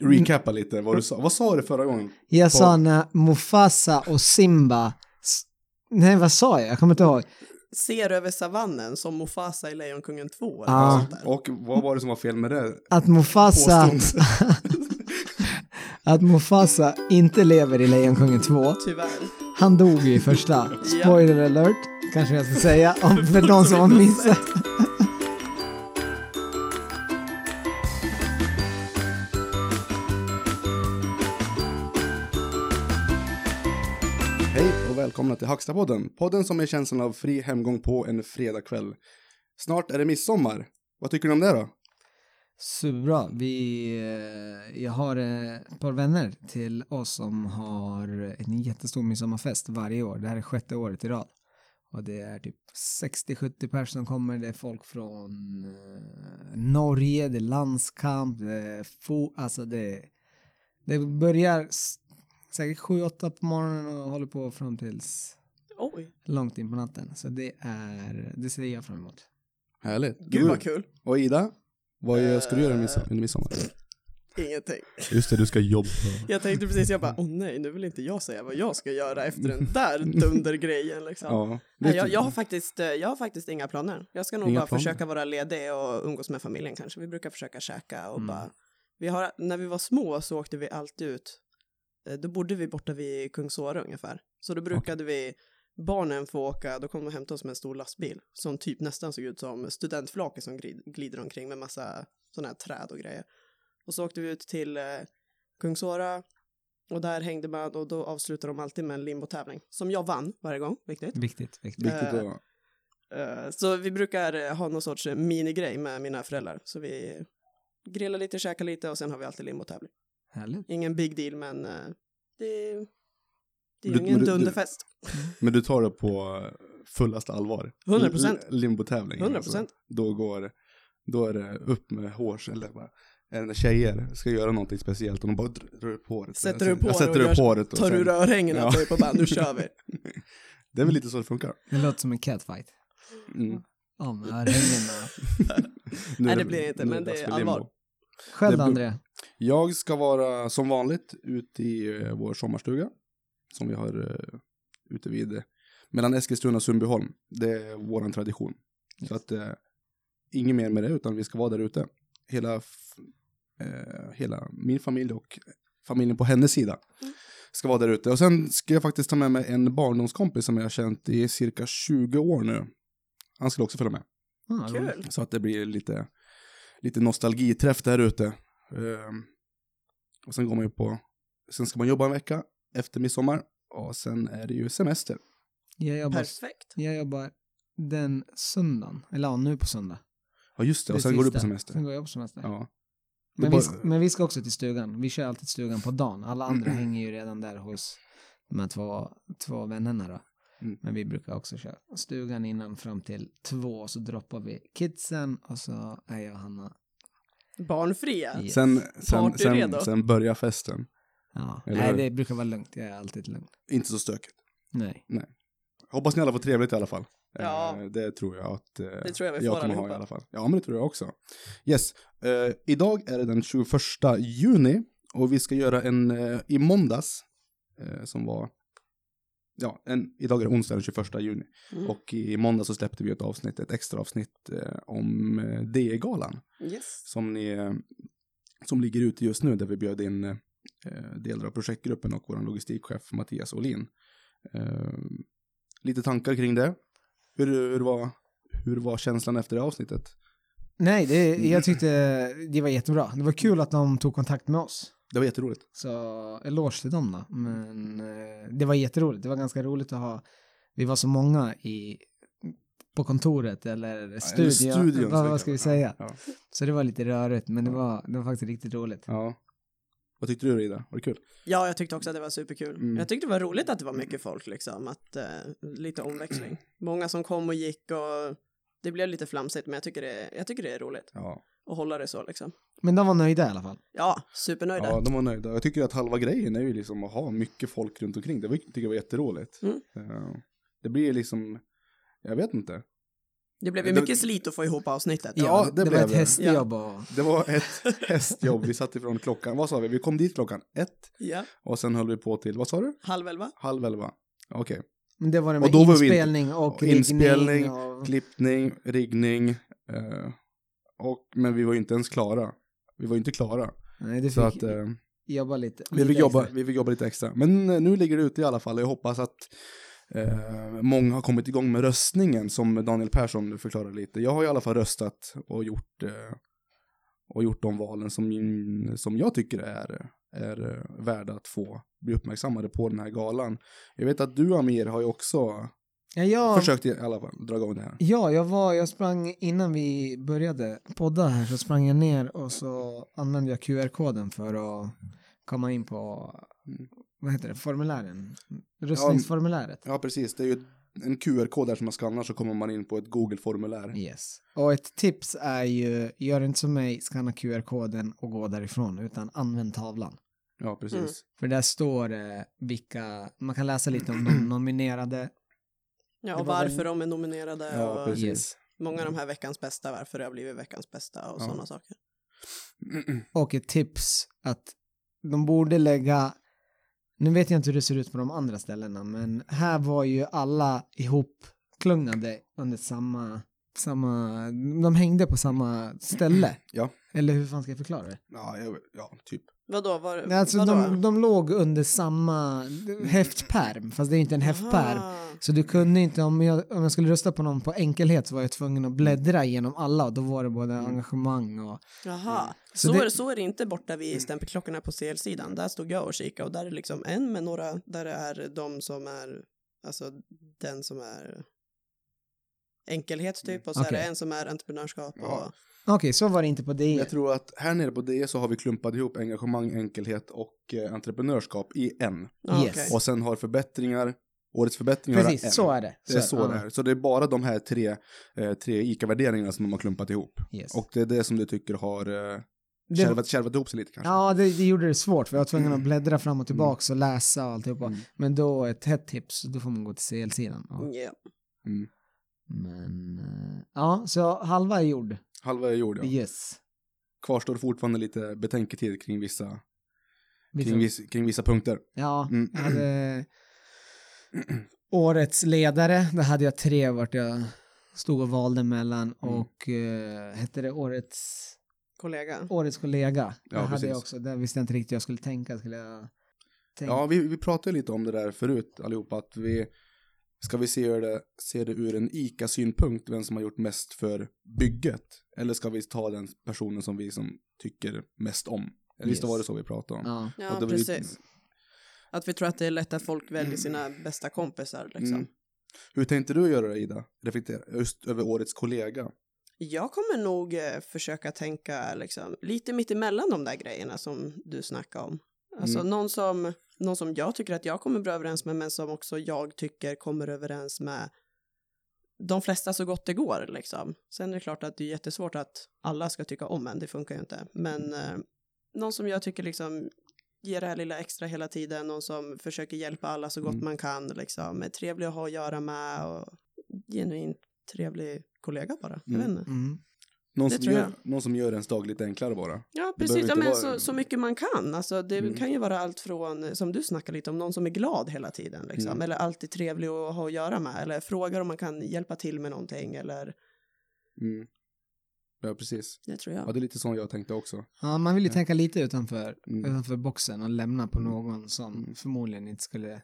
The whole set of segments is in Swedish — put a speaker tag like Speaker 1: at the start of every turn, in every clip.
Speaker 1: recappa lite vad
Speaker 2: Mm.
Speaker 1: du sa. Vad sa du förra gången?
Speaker 3: Jag
Speaker 1: på-
Speaker 3: sa när Mufasa och Simba... s- Nej, vad sa jag? Jag kommer inte ihåg.
Speaker 2: Ser över savannen som Mufasa i Lejonkungen Alltså, 2. Eller
Speaker 3: Ja.
Speaker 2: något sånt där.
Speaker 1: Och vad var det som var fel med det?
Speaker 3: Att Mufasa...
Speaker 1: Påståendet.
Speaker 3: att Mufasa inte lever i Lejonkungen 2.
Speaker 2: Tyvärr.
Speaker 3: Han dog ju i första. Spoiler alert, kanske jag ska säga, om för de som har missat.
Speaker 1: Hej och välkomna till Hackstapodden. Podden som är känslan av fri hemgång på en fredagkväll. Snart är det midsommar. Vad tycker ni om det då?
Speaker 3: Superbra. Vi, eh, jag har eh, ett par vänner till oss som har en jättestor midsommarfest varje år. Det här är sjätte året i rad. Och det är typ 60-70 personer som kommer. Det är folk från eh, Norge, det är landskamp, det är fo- alltså det, det börjar s- säkert 7-8 på morgonen och håller på fram tills
Speaker 2: Oj,
Speaker 3: långt in på natten. Så det är, det ser jag fram emot.
Speaker 1: Härligt.
Speaker 2: gud vad kul.
Speaker 1: Och Ida? Vad gör- ska du göra midsom- under midsommar?
Speaker 2: Ingenting.
Speaker 4: Just det, du ska jobba.
Speaker 2: Jag tänkte precis, jag bara, åh nej, nu vill inte jag säga vad jag ska göra efter den där dundergrejen liksom.
Speaker 1: Ja. typ
Speaker 2: Nej, jag, jag, har faktiskt, eh, jag har faktiskt inga planer. Jag ska nog
Speaker 1: Inga
Speaker 2: bara
Speaker 1: planer.
Speaker 2: försöka vara ledig och umgås med familjen kanske. Vi brukar försöka käka
Speaker 1: Mm.
Speaker 2: och bara... Vi har, när vi var små så åkte vi alltid ut. Eh, Då bodde vi borta vid Kungsåre ungefär. Så då brukade vi, barnen få åka, då kom de och hämtade oss med en stor lastbil som typ nästan såg ut som studentflake som grid- glider omkring med massa sådana här träd och grejer. Och så åkte vi ut till eh, Kungsåra och där hängde man och då avslutade de alltid med en limbotävling som jag vann varje gång, viktigt.
Speaker 3: Viktigt, viktigt.
Speaker 1: Viktigt att...
Speaker 2: Eh, Så vi brukar eh, ha någon sorts eh, minigrej med mina föräldrar. Så vi grillar lite, käkar lite och sen har vi alltid limotävling.
Speaker 3: Härligt.
Speaker 2: Ingen big deal men eh, det, det är
Speaker 1: Du-
Speaker 2: ju ingen
Speaker 1: men du- du-
Speaker 2: dunderfest.
Speaker 1: Men du tar det på fullaste allvar?
Speaker 2: 100%.
Speaker 1: L- Limbotävling?
Speaker 2: 100%.
Speaker 1: Då går... Då är det upp med hårs... Eller bara... Är det tjejer ska göra någonting speciellt och de bara drar upp håret.
Speaker 2: Sätter upp
Speaker 1: Jag
Speaker 2: håret
Speaker 1: sätter
Speaker 2: och
Speaker 1: upp
Speaker 2: gör-
Speaker 1: håret och
Speaker 2: Tar du
Speaker 1: sen,
Speaker 2: rörhängena
Speaker 1: Ja.
Speaker 2: på dig på band, nu kör vi.
Speaker 1: Det är väl lite så det funkar.
Speaker 3: Det låter som en catfight.
Speaker 1: Mm.
Speaker 3: Ja, men örhängena.
Speaker 1: Nu
Speaker 2: Nej,
Speaker 1: är
Speaker 2: det blir det inte,
Speaker 1: nu
Speaker 2: men
Speaker 1: dags
Speaker 2: det är
Speaker 1: för limbo.
Speaker 2: allvar.
Speaker 3: Själv
Speaker 1: Det-
Speaker 3: André?
Speaker 1: Jag ska vara som vanligt ute i eh, vår sommarstuga som vi har eh, ute vid eh, mellan Eskilstuna och Sundbyholm. Det är våran tradition. Så att eh, inget mer med det utan vi ska vara där ute. Hela, f- eh, hela min familj och familjen på hennes sida ska vara där ute. Och sen ska jag faktiskt ta med mig en barndomskompis som jag har känt i cirka 20 år nu. Han skulle också följa med.
Speaker 3: Ah, roligt.
Speaker 2: Kul.
Speaker 1: Så att det blir lite, lite nostalgiträff där ute. Ehm, och sen går man ju på, sen ska man jobba en vecka efter midsommar och sen är det ju semester.
Speaker 3: jag, jobbar,
Speaker 2: Perfekt.
Speaker 3: jag jobbar den söndagen, eller ja, nu på söndag.
Speaker 1: Ja just det, och
Speaker 3: Det
Speaker 1: sen går du
Speaker 3: sista.
Speaker 1: på semester.
Speaker 3: Sen går jag på semester.
Speaker 1: Ja.
Speaker 3: men,
Speaker 1: det
Speaker 3: vi,
Speaker 1: är
Speaker 3: sk-
Speaker 1: bara-
Speaker 3: men vi ska också till stugan. Vi kör alltid stugan på dagen. Alla andra
Speaker 1: Mm.
Speaker 3: hänger ju redan där hos de här två, två vännerna då.
Speaker 1: Mm.
Speaker 3: Men vi brukar också köra stugan innan fram till två och så droppar vi kidsen och så är jag och Hanna.
Speaker 2: Barnfria.
Speaker 3: Yes.
Speaker 1: Sen, sen,
Speaker 2: Partyredo.
Speaker 1: sen, sen börjar festen.
Speaker 3: Ja.
Speaker 1: Eller
Speaker 3: Nej,
Speaker 1: hur?
Speaker 3: det brukar vara lugnt. Jag är alltid lugn.
Speaker 1: Inte så stökigt.
Speaker 3: Nej.
Speaker 1: Hoppas ni alla får trevligt i alla fall.
Speaker 2: Ja.
Speaker 1: Eh, Det tror jag att eh,
Speaker 2: Det tror jag vi
Speaker 1: jag
Speaker 2: får
Speaker 1: kommer ha i
Speaker 2: allihopa.
Speaker 1: alla fall. Ja, men det tror jag också. Yes. Eh, idag är det den 21 juni och vi ska göra en eh, i måndags eh, som var Ja, en, idag är det onsdag den 21 juni
Speaker 2: Mm.
Speaker 1: och i måndag så släppte vi ett avsnitt, ett extra avsnitt eh, om eh, DE-galan
Speaker 2: Yes.
Speaker 1: som, ni, eh, som ligger ute just nu där vi bjöd in eh, delar av projektgruppen och vår logistikchef Mattias Olin. Eh, lite tankar kring det. Hur, hur, var, hur var känslan efter det avsnittet?
Speaker 3: Nej, det,
Speaker 1: Mm.
Speaker 3: jag tyckte det var jättebra. Det var kul att de tog kontakt med oss.
Speaker 1: Det var jätteroligt.
Speaker 3: Så eloge till dem då. Men eh, det var jätteroligt. Det var ganska roligt att ha. Vi var så många i, på kontoret eller studion.
Speaker 1: studion,
Speaker 3: vad,
Speaker 1: så
Speaker 3: vad ska vi
Speaker 1: kan-
Speaker 3: säga?
Speaker 1: Ja, ja,
Speaker 3: Så det var lite rörigt, men det
Speaker 1: Ja.
Speaker 3: var, det var faktiskt riktigt roligt.
Speaker 1: ja. Vad tyckte du Ida? Var det kul?
Speaker 2: Ja, jag tyckte också att det var superkul.
Speaker 1: Mm.
Speaker 2: Jag tyckte det var roligt att det var mycket folk liksom, att eh, lite omväxling. Många som kom och gick och det blev lite flamsigt, men jag tycker det, jag tycker det är roligt
Speaker 1: Ja.
Speaker 2: att hålla det så liksom.
Speaker 3: Men de var nöjda i alla fall.
Speaker 2: Ja, supernöjda.
Speaker 1: ja, de var nöjda. Jag tycker att halva grejen är ju liksom att ha mycket folk runt omkring. Det var, tycker jag var jätteroligt.
Speaker 2: Mm.
Speaker 1: Eh, Det blir liksom, jag vet inte.
Speaker 2: Det blev ju
Speaker 1: Det-
Speaker 2: mycket slit att få ihop avsnittet.
Speaker 1: Ja, det
Speaker 3: det,
Speaker 1: blev
Speaker 3: var ett
Speaker 1: det.
Speaker 3: hästjobb och...
Speaker 1: Det var ett hästjobb. Vi satt ifrån klockan, vad sa vi? Vi kom dit klockan ett
Speaker 2: Ja,
Speaker 1: och sen höll vi på till, vad sa du?
Speaker 2: halv elva.
Speaker 1: Halv elva. Okej.
Speaker 3: Men det var det
Speaker 1: Och
Speaker 3: med
Speaker 1: då var vi inte-
Speaker 3: inspelning och riggning
Speaker 1: Inspelning,
Speaker 3: och...
Speaker 1: klippning, riggning. Eh, och, men vi var ju inte ens klara. Vi var ju inte klara.
Speaker 3: Nej, du fick
Speaker 1: Så att, eh,
Speaker 3: jobba lite.
Speaker 1: vi, fick
Speaker 3: lite
Speaker 1: jobba,
Speaker 3: extra.
Speaker 1: vi fick jobba lite extra. Men eh, nu ligger det ute i alla fall. Jag hoppas att eh, många har kommit igång med röstningen som Daniel Persson förklarade lite. Jag har i alla fall röstat och gjort, eh, och gjort de valen som, min, som jag tycker är, är eh, värda att få bli uppmärksammade på den här galan. Jag vet att du Amir har ju också
Speaker 3: Ja, jag,
Speaker 1: försökt i alla fall dra igång det här.
Speaker 3: ja, jag var, jag sprang innan vi började podda här så sprang jag ner och så använde jag QR-koden för att komma in på,
Speaker 1: Mm.
Speaker 3: vad heter det, formulären? Röstningsformuläret.
Speaker 1: Ja, precis. Det är ju ett- en QR-kod där som man skannar så kommer man in på ett Google-formulär.
Speaker 3: Yes. Och ett tips är ju, gör inte som mig, skanna QR-koden och gå därifrån, utan använd tavlan.
Speaker 1: Ja, precis.
Speaker 2: Mm.
Speaker 3: För där står det vilka, man kan läsa lite om de nominerade.
Speaker 2: Ja,
Speaker 3: Det
Speaker 2: och
Speaker 3: var väl-
Speaker 2: varför de är nominerade
Speaker 1: Ja,
Speaker 2: och
Speaker 1: precis.
Speaker 3: Yes.
Speaker 2: många av de här veckans bästa, varför det har blivit veckans bästa och
Speaker 1: Ja.
Speaker 2: sådana saker.
Speaker 3: Och ett tips att de borde lägga, nu vet jag inte hur det ser ut på de andra ställena, men här var ju alla ihopklungade under samma, samma, de hängde på samma ställe.
Speaker 1: Ja.
Speaker 3: Eller hur fan ska jag förklara det?
Speaker 1: Ja, jag, ja, typ.
Speaker 2: Vadå? Var,
Speaker 3: Nej, Alltså
Speaker 2: vadå?
Speaker 3: de, de låg under samma häftpärm, fast det är ju inte en häftpärm.
Speaker 1: Ah.
Speaker 2: Aha.
Speaker 3: Så du kunde inte, om jag, om jag skulle rösta på någon på enkelhet så var jag tvungen att bläddra igenom alla och då var det både
Speaker 1: Mm.
Speaker 3: engagemang och...
Speaker 2: Jaha,
Speaker 3: Mm. Så
Speaker 2: så,
Speaker 3: det- Mm.
Speaker 2: är det, så är det inte borta vid stämpelklockorna på CL-sidan. Där stod jag och kikade och där är liksom en med några, där det är de som är, alltså den som är enkelhet typ och så är
Speaker 3: Okej.
Speaker 2: det en som är entreprenörskap och
Speaker 1: Ja.
Speaker 3: Okej, så var det inte på det.
Speaker 1: Jag tror att här nere på DE så har vi klumpat ihop engagemang, enkelhet och eh, entreprenörskap i en.
Speaker 2: Ja,
Speaker 3: Yes.
Speaker 2: okej.
Speaker 1: Och sen har förbättringar, årets förbättringar är en.
Speaker 3: Precis, så är det.
Speaker 1: Det är så det
Speaker 3: ja.
Speaker 1: är. Så det är bara de här tre, eh, tre ICA-värderingarna som de har klumpat ihop.
Speaker 3: Yes.
Speaker 1: Och det är det som du tycker har eh,
Speaker 3: Det-
Speaker 1: kärvat, kärvat ihop sig lite kanske.
Speaker 3: Ja, det, det gjorde det svårt för jag var tvungen att bläddra fram och tillbaks och läsa och alltihopa.
Speaker 1: Mm.
Speaker 3: Men då ett hett tips, då får man gå till CL-sidan. Ja.
Speaker 2: Ja.
Speaker 3: Men, eh, ja, så halva är gjord.
Speaker 1: Halva är gjord, ja.
Speaker 3: Yes.
Speaker 1: Kvarstår fortfarande lite betänketid kring vissa,
Speaker 3: Vi
Speaker 1: kring
Speaker 3: får-
Speaker 1: vissa, kring vissa punkter.
Speaker 3: Ja,
Speaker 1: Mm.
Speaker 3: jag hade årets ledare, där hade jag tre vart jag stod och valde mellan
Speaker 1: Mm.
Speaker 3: och eh, hette det årets,
Speaker 2: Kollega.
Speaker 3: årets kollega?
Speaker 1: Ja,
Speaker 3: där hade jag
Speaker 1: precis.
Speaker 3: också, där visste jag inte riktigt hur jag skulle tänka, skulle jag tänka.
Speaker 1: Ja, vi, vi pratade ju lite om det där förut allihopa, att vi ska vi se, hur det, se det ur en ICA-synpunkt, vem som har gjort mest för bygget? Eller ska vi ta den personen som vi som tycker mest om? Eller Visst
Speaker 3: Yes.
Speaker 1: var det så vi pratade om?
Speaker 3: Ja.
Speaker 2: Ja,
Speaker 1: Och det var ju-
Speaker 2: precis. Att vi tror att det är lätt att folk väljer sina bästa kompisar liksom.
Speaker 1: Mm. Hur tänkte du göra det, Ida? Reflektera just över årets kollega.
Speaker 2: Jag kommer nog eh, försöka tänka liksom, lite mitt emellan de där grejerna som du snackade om. Alltså
Speaker 1: Mm.
Speaker 2: någon, som, någon som jag tycker att jag kommer bra överens med men som också jag tycker kommer överens med de flesta så gott det går liksom. Sen är det klart att det är jättesvårt att alla ska tycka om en, det funkar ju inte. Men
Speaker 1: Mm.
Speaker 2: eh, någon som jag tycker liksom ger det här lilla extra hela tiden, någon som försöker hjälpa alla så gott
Speaker 1: Mm.
Speaker 2: man kan liksom. Är trevlig att ha att göra med och genuint trevlig kollega bara. Jag
Speaker 1: Mm.
Speaker 2: vet inte.
Speaker 3: Mm.
Speaker 1: Någon,
Speaker 2: Det
Speaker 1: som
Speaker 2: tror
Speaker 1: gör,
Speaker 2: jag.
Speaker 1: någon som gör ens dag lite enklare bara.
Speaker 2: Ja,
Speaker 1: behöver
Speaker 2: precis.
Speaker 1: inte
Speaker 2: Ja, men
Speaker 1: vara-
Speaker 2: så, så mycket man kan. Alltså, det
Speaker 1: Mm.
Speaker 2: kan ju vara allt från, som du snackar lite om, någon som är glad hela tiden. Liksom.
Speaker 1: Mm.
Speaker 2: Eller alltid trevlig att ha att göra med. Eller frågar om man kan hjälpa till med någonting. Eller,
Speaker 1: Mm. Ja, precis.
Speaker 2: det tror
Speaker 1: Ja,
Speaker 2: jag.
Speaker 1: det är lite så jag tänkte också.
Speaker 3: ja, man vill ju tänka lite utanför,
Speaker 1: Mm.
Speaker 3: utanför boxen och lämna på någon som
Speaker 1: Mm.
Speaker 3: förmodligen inte skulle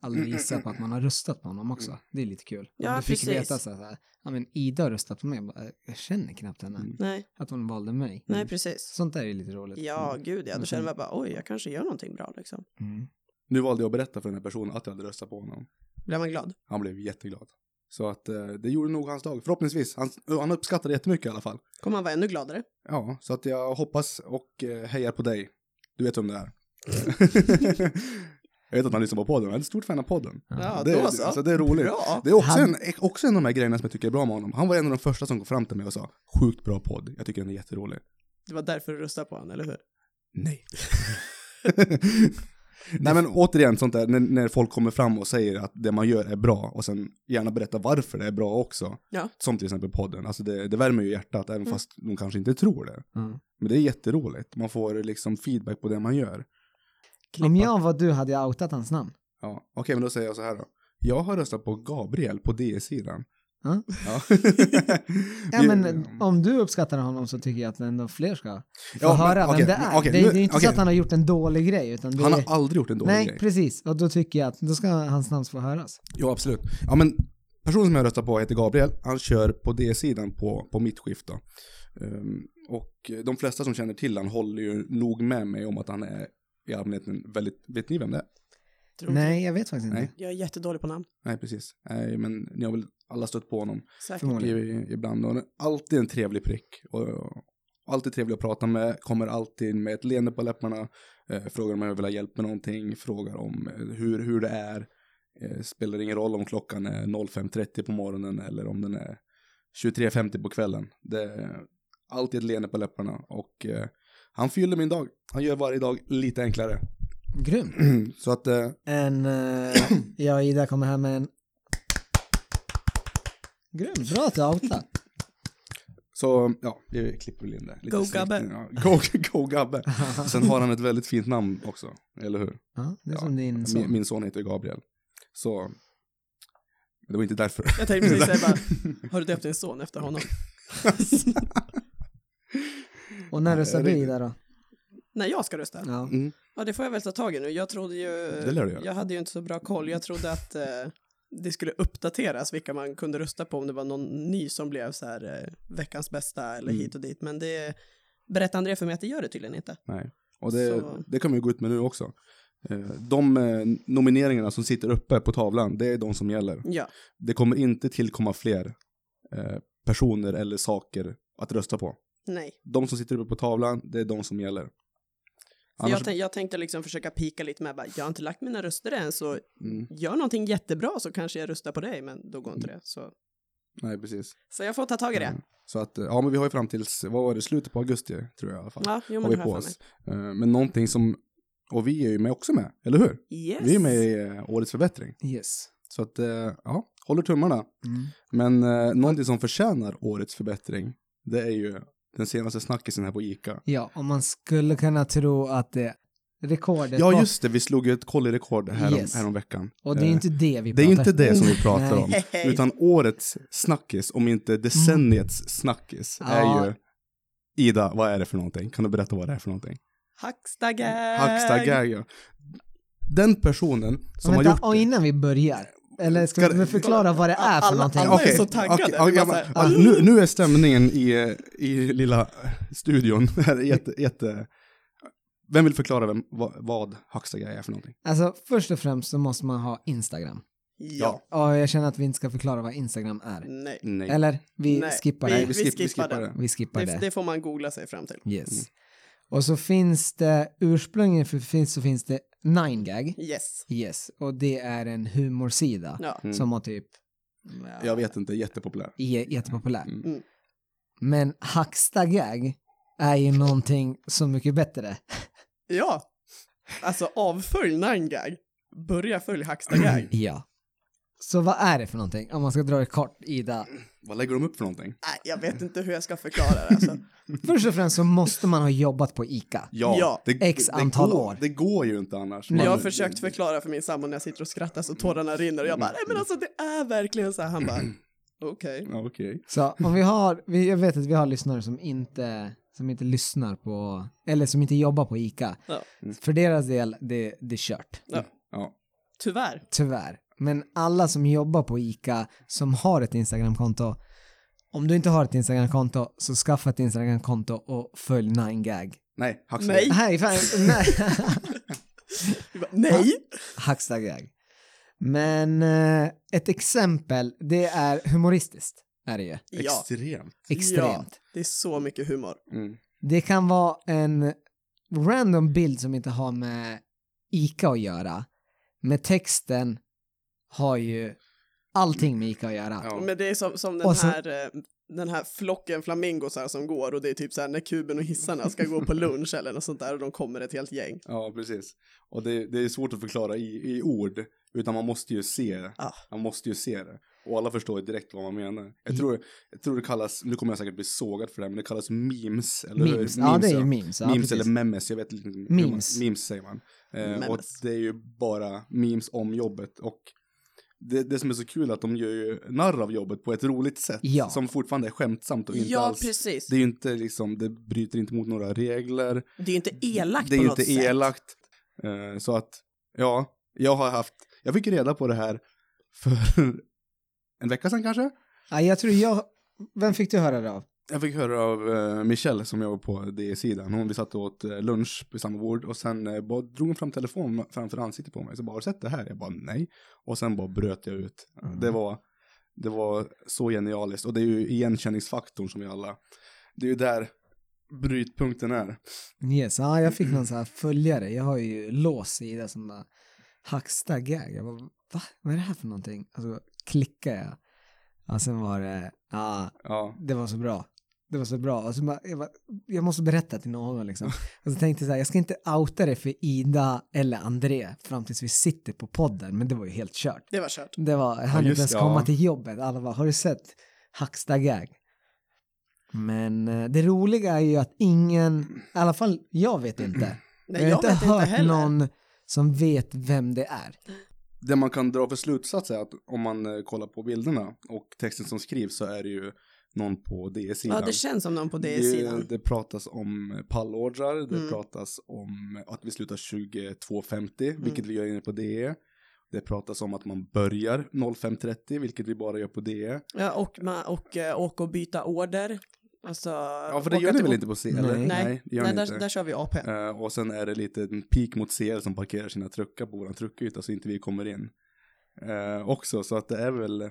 Speaker 3: aldrig gissa på att man har röstat på honom
Speaker 1: Mm.
Speaker 3: också. Det är lite kul.
Speaker 2: Ja,
Speaker 3: Om du fick
Speaker 2: precis.
Speaker 3: veta så här, ja men Ida har röstat på mig, jag, bara, "Äh, jag känner knappt henne.
Speaker 1: Mm.
Speaker 2: Nej,
Speaker 3: Att hon valde mig. Mm.
Speaker 2: nej, precis.
Speaker 3: Sånt där är lite roligt.
Speaker 2: Ja,
Speaker 1: mm.
Speaker 2: gud ja.
Speaker 3: Men
Speaker 2: Då känner
Speaker 3: sen-
Speaker 2: man bara, oj, jag kanske gör någonting bra liksom.
Speaker 3: Mm.
Speaker 1: Nu valde jag att berätta för den här personen att jag hade röstat på honom.
Speaker 2: Blir man glad?
Speaker 1: Han blev jätteglad. Så att eh, det gjorde nog hans dag, förhoppningsvis. Han, han uppskattade jättemycket i alla fall.
Speaker 2: Kommer man vara ännu gladare?
Speaker 1: Ja, så att jag hoppas och eh, hejar på dig. Du vet vem det
Speaker 2: Mm.
Speaker 1: är. jag vet att han lyssnar på podden, jag är ett stort fan av podden.
Speaker 2: Ja,
Speaker 1: det,
Speaker 2: då så.
Speaker 1: Alltså, det är roligt.
Speaker 2: Bra!
Speaker 1: Det är också,
Speaker 3: Han-
Speaker 1: en, också en av de här grejerna som jag tycker är bra med honom. Han var en av de första som kom fram till mig och sa sjukt bra podd, jag tycker den är jätterolig.
Speaker 2: Det var därför du röstade på honom, eller hur?
Speaker 1: Nej. Nej men återigen sånt där när, när folk kommer fram och säger att det man gör är bra och sen gärna berätta varför det är bra också.
Speaker 2: Ja.
Speaker 1: Som till exempel podden, alltså det, det värmer ju hjärtat även
Speaker 2: Mm.
Speaker 1: fast de kanske inte tror det.
Speaker 3: Mm.
Speaker 1: Men det är jätteroligt, man får liksom feedback på det man gör.
Speaker 3: Om jag var du hade jag outat hans namn.
Speaker 1: Ja, okej men då säger jag så här då. Jag har röstat på Gabriel på DS-sidan.
Speaker 3: Ja.
Speaker 1: Ja.
Speaker 3: Ja, men om du uppskattar honom så tycker jag att ändå fler ska få
Speaker 1: Mm. Ja, men,
Speaker 3: höra
Speaker 1: okej,
Speaker 3: vem det är.
Speaker 1: okej,
Speaker 3: det,
Speaker 1: nu-
Speaker 3: är- det är inte
Speaker 1: okej.
Speaker 3: så att han har gjort en dålig grej, utan det
Speaker 1: Han har
Speaker 3: är...
Speaker 1: aldrig gjort en dålig
Speaker 3: Nej,
Speaker 1: grej.
Speaker 3: precis. Och då tycker jag att då ska hans namn få höras.
Speaker 1: Jo, absolut. Ja, men personen som jag röstar på heter Gabriel. Han kör på D-sidan på, på mitt skift då. Ehm, och de flesta som känner till han håller ju nog med mig om att han är i allmänhet en väldigt, vet ni vem det är?
Speaker 2: Tror inte.
Speaker 3: Nej, jag vet faktiskt inte.
Speaker 1: Nej.
Speaker 2: Jag är jättedålig på namn.
Speaker 1: Nej, precis. Nej, men ni har väl alla stött på honom
Speaker 2: Säkert.
Speaker 1: i,
Speaker 3: Förmodligen.
Speaker 1: ibland. Och han är alltid en trevlig prick. Och, alltid trevlig att prata med, kommer alltid med ett leende på läpparna. Eh, frågar om jag vill ha hjälp med någonting, frågar om eh, hur, hur det är. Eh, spelar ingen roll om klockan är 05.30 på morgonen eller om den är 23.50 på kvällen. Det är alltid ett leende på läpparna och eh, han fyller min dag. Han gör varje dag lite enklare.
Speaker 3: Grymt.
Speaker 1: Så att eh,
Speaker 3: En, eh, jag och Ida kommer hem med en... Grymt, bra att du outar.
Speaker 1: Så ja, vi klipper väl in det. Lite
Speaker 2: Go
Speaker 1: snyggt.
Speaker 2: Gabbe.
Speaker 1: Ja, go, go Gabbe. Sen har han ett väldigt fint namn också, eller hur?
Speaker 3: Ja, det är
Speaker 1: Ja,
Speaker 3: som din son.
Speaker 1: Min, min son heter Gabriel. Så, men det var inte därför.
Speaker 2: Jag tänkte precis säga bara, har du döpt din son efter honom?
Speaker 3: Och när röstar du
Speaker 1: det-
Speaker 3: Ida då?
Speaker 2: Nej, jag ska rösta.
Speaker 3: Ja.
Speaker 1: Mm.
Speaker 2: Ja, det får jag väl ta tag i nu. Jag trodde ju...
Speaker 1: Det lär du göra.
Speaker 2: Jag hade ju inte så bra koll. Jag trodde att eh, det skulle uppdateras vilka man kunde rösta på om det var någon ny som blev så här eh, veckans bästa eller
Speaker 1: Mm.
Speaker 2: hit och dit. Men det berättade André för mig att det gör det tydligen inte.
Speaker 1: Nej, och det,
Speaker 2: Så.
Speaker 1: det kan vi gå ut med nu också. Eh, De eh, nomineringarna som sitter uppe på tavlan, det är de som gäller.
Speaker 2: Ja,
Speaker 1: Det kommer inte tillkomma fler eh, personer eller saker att rösta på.
Speaker 2: nej.
Speaker 1: De som sitter uppe på tavlan, det är de som gäller.
Speaker 2: För Jag, tänk, jag tänkte liksom försöka pika lite med bara, jag har inte lagt mina röster än så
Speaker 1: Mm,
Speaker 2: gör någonting jättebra så kanske jag röstar på dig, men då går inte det. Så,
Speaker 1: nej, precis.
Speaker 2: så jag får ta tag i det.
Speaker 1: Mm. Så att, eh, ja men vi har ju fram tills, vad var det, slutet på augusti tror jag i alla fall.
Speaker 2: Ja, jo,
Speaker 1: har
Speaker 2: men
Speaker 1: vi
Speaker 2: det har
Speaker 1: på
Speaker 2: jag för mig.
Speaker 1: oss. Eh, Men någonting som, och vi är ju med också med, eller hur?
Speaker 2: Yes.
Speaker 1: Vi är med i eh, årets förbättring.
Speaker 3: Yes.
Speaker 1: Så att, eh, ja, håller tummarna.
Speaker 3: Mm.
Speaker 1: Men eh, någonting som förtjänar årets förbättring, det är ju den senaste snackisen här på ICA.
Speaker 3: Ja, om man skulle kunna tro att det rekordet
Speaker 1: Ja
Speaker 3: var-
Speaker 1: just det, vi slog ju ett kollirekord här
Speaker 3: Yes.
Speaker 1: om, veckan.
Speaker 3: Och det är
Speaker 1: Eh,
Speaker 3: inte det vi
Speaker 1: det är
Speaker 3: pratar
Speaker 1: ju inte det som vi pratar
Speaker 3: Nej.
Speaker 1: om. Utan årets snackis, om inte decenniets snackis, är
Speaker 3: Mm. Ja.
Speaker 1: ju... Ida, vad är det för någonting? Kan du berätta vad det är för någonting?
Speaker 2: Hackstagag!
Speaker 1: Hackstagag, ja. Den personen som
Speaker 3: Vänta,
Speaker 1: har gjort
Speaker 3: och innan vi börjar, eller ska,
Speaker 1: Ska-
Speaker 3: vi förklara vad det är för
Speaker 2: Alla-
Speaker 3: någonting?
Speaker 1: det...
Speaker 2: alla-
Speaker 1: Okej,
Speaker 2: är så ah. taggade.
Speaker 1: okej,
Speaker 2: Det är
Speaker 1: ja,
Speaker 2: bara
Speaker 1: men, ja, nu, nu är stämningen i, eh, i lilla studion här jätte, jätte... Vem vill förklara vem, vad, vad Hackstagag är för någonting?
Speaker 3: Alltså, först och främst så måste man ha Instagram.
Speaker 2: Ja.
Speaker 3: Och jag känner att vi inte ska förklara vad Instagram är.
Speaker 2: Nej.
Speaker 1: Nej.
Speaker 3: Eller? Vi
Speaker 2: Nej,
Speaker 3: skippar
Speaker 1: Nej, vi,
Speaker 3: det.
Speaker 2: vi
Speaker 1: skipp, vi
Speaker 2: skippar
Speaker 1: skippar
Speaker 2: den.
Speaker 1: det.
Speaker 3: Vi skippar
Speaker 2: Det,
Speaker 3: det.
Speaker 2: det får man googla sig fram till.
Speaker 3: Yes. Mm. Och så finns det, ursprungligen för- finns, så finns det 9gag.
Speaker 2: Yes.
Speaker 3: Yes. Och det är en humorsida
Speaker 2: Ja.
Speaker 1: Mm.
Speaker 3: som har typ...
Speaker 1: Jag vet inte, jättepopulär.
Speaker 3: är jättepopulär.
Speaker 1: Mm.
Speaker 2: Mm.
Speaker 3: Men hackstagag är ju någonting så mycket bättre.
Speaker 2: Ja. Alltså avfölj Nangag. Börja följ Hackstagag.
Speaker 3: Ja. Så vad är det för någonting? Om man ska dra det kort, Ida.
Speaker 1: Vad lägger de upp för någonting?
Speaker 2: Nej, jag vet inte hur jag ska förklara det alltså.
Speaker 3: Först och främst så måste man ha jobbat på ICA.
Speaker 1: Ja,
Speaker 2: Ja,
Speaker 1: det,
Speaker 3: X
Speaker 1: det-
Speaker 3: antal
Speaker 1: det går,
Speaker 3: år.
Speaker 1: Det går ju inte annars.
Speaker 2: Jag har
Speaker 1: Man-
Speaker 2: försökt förklara för min sambo när jag sitter och skrattar så tårarna rinner och jag bara, nej men alltså det är verkligen så här. Han bara, okej.
Speaker 1: Ja, Okej.
Speaker 3: Så om vi har, vi, jag vet att vi har lyssnare som inte, som inte lyssnar på, eller som inte jobbar på ICA.
Speaker 2: Ja.
Speaker 3: För deras del, det, det är kört.
Speaker 1: Ja.
Speaker 2: Tyvärr.
Speaker 3: Tyvärr. Men alla som jobbar på ICA, som har ett Instagramkonto, om du inte har ett Instagramkonto så skaffa ett Instagramkonto och följ 9gag.
Speaker 1: Nej, Hackstad.
Speaker 2: Nej.
Speaker 3: Nej, fan, nej.
Speaker 2: Vi bara, nej!
Speaker 3: Hackstagag. Men eh, ett exempel, det är humoristiskt. Är det ju.
Speaker 2: Ja,
Speaker 1: Extremt.
Speaker 3: Extremt.
Speaker 2: det är så mycket humor.
Speaker 1: Mm.
Speaker 3: Det kan vara en random bild som inte har med ICA att göra. Men texten har ju allting med ICA att göra.
Speaker 1: Ja.
Speaker 2: Men det är som, som den
Speaker 3: Och så-
Speaker 2: här eh, den här flocken flamingosar som går och det är typ så här när kuben och hissarna ska gå på lunch eller något sånt där och de kommer ett helt gäng.
Speaker 1: Ja, precis. Och det, det är svårt att förklara i, i ord, utan man måste ju se.
Speaker 2: Ah.
Speaker 1: Man måste ju se det. Och alla förstår ju direkt vad man menar. Jag
Speaker 3: Mm.
Speaker 1: tror, jag tror det kallas, nu kommer jag säkert bli sågad för det, här, men det kallas memes. Eller hur?
Speaker 3: Memes. Ja, det är ju
Speaker 1: ja.
Speaker 3: memes. Ja,
Speaker 1: memes
Speaker 3: precis.
Speaker 1: eller memes, jag vet inte. hur
Speaker 3: Memes.
Speaker 1: Man, memes säger man. Eh, och
Speaker 2: Memes.
Speaker 1: det är ju bara memes om jobbet. Och det, det som är så kul är att de gör ju narr av jobbet på ett roligt sätt.
Speaker 3: Ja.
Speaker 1: Som fortfarande är skämtsamt och inte
Speaker 2: Ja,
Speaker 1: alls.
Speaker 2: precis.
Speaker 1: Det
Speaker 2: Det,
Speaker 1: är ju inte liksom, det bryter inte mot några regler.
Speaker 2: är ju inte elakt
Speaker 1: Det är
Speaker 2: på
Speaker 1: ju
Speaker 2: något
Speaker 1: inte
Speaker 2: sätt.
Speaker 1: elakt. Eh, så att, ja, jag har haft, jag fick reda på det här för en vecka sedan kanske.
Speaker 3: Ja, jag tror jag... Vem fick du höra det av?
Speaker 1: Jag fick höra av eh, Michelle som jobbar på DE-sidan. Hon, vi satt och åt eh, lunch på samma bord och sen eh, bara drog hon fram telefonen framför ansiktet på mig. Så bara, har du sett det här? Jag bara, nej. Och sen bara bröt jag ut.
Speaker 3: Mm.
Speaker 1: Det, var, det var så genialiskt. Och det är ju igenkänningsfaktorn som vi alla, det är ju där brytpunkten är.
Speaker 3: Yes, ja, jag fick någon så här följare. Jag har ju lås sida som bara hackstar gag. Jag bara, va? Vad är det här för någonting? Och så klickar jag. Och sen var det, ja,
Speaker 1: Ja,
Speaker 3: det var så bra. Det var så bra. Och så bara, jag, bara, jag måste berätta till någon liksom. Och så tänkte jag så här, jag ska inte outa det för Ida eller André fram tills vi sitter på podden. Men det var ju helt kört.
Speaker 2: Det var kört.
Speaker 3: Det var, han inte
Speaker 1: just
Speaker 3: ens
Speaker 1: det,
Speaker 3: komma
Speaker 1: ja.
Speaker 3: till jobbet. Alla bara, har du sett Hacksta gag? Men eh, det roliga är ju att ingen, i alla fall jag vet inte.
Speaker 2: Nej,
Speaker 3: jag har
Speaker 2: jag,
Speaker 3: inte
Speaker 2: vet inte
Speaker 3: hört
Speaker 2: heller.
Speaker 3: någon som vet vem det är.
Speaker 1: det man kan dra för slutsats är att om man eh, kollar på bilderna och texten som skrivs så är det ju någon på DE-sidan.
Speaker 2: Ja, det känns som någon på
Speaker 1: Det,
Speaker 2: det sidan.
Speaker 1: det pratas om pallordrar, det
Speaker 2: Mm.
Speaker 1: pratas om att vi slutar 22.50,
Speaker 2: Mm.
Speaker 1: vilket vi gör inne på DE. Det pratas om att man börjar 05.30, vilket vi bara gör på E. DE.
Speaker 2: Ja, och, man, och eh, åka och byta order. Alltså,
Speaker 1: Ja, för det gör ni väl inte på C? E, Eller?
Speaker 3: Nej.
Speaker 2: Nej,
Speaker 1: det gör
Speaker 2: Nej
Speaker 1: ni
Speaker 2: där,
Speaker 1: inte.
Speaker 2: där kör vi AP.
Speaker 1: Eh, och sen är det lite en peak mot CL som parkerar sina truckar på våran truckyta så inte vi kommer in. Eh, också, så att det är väl...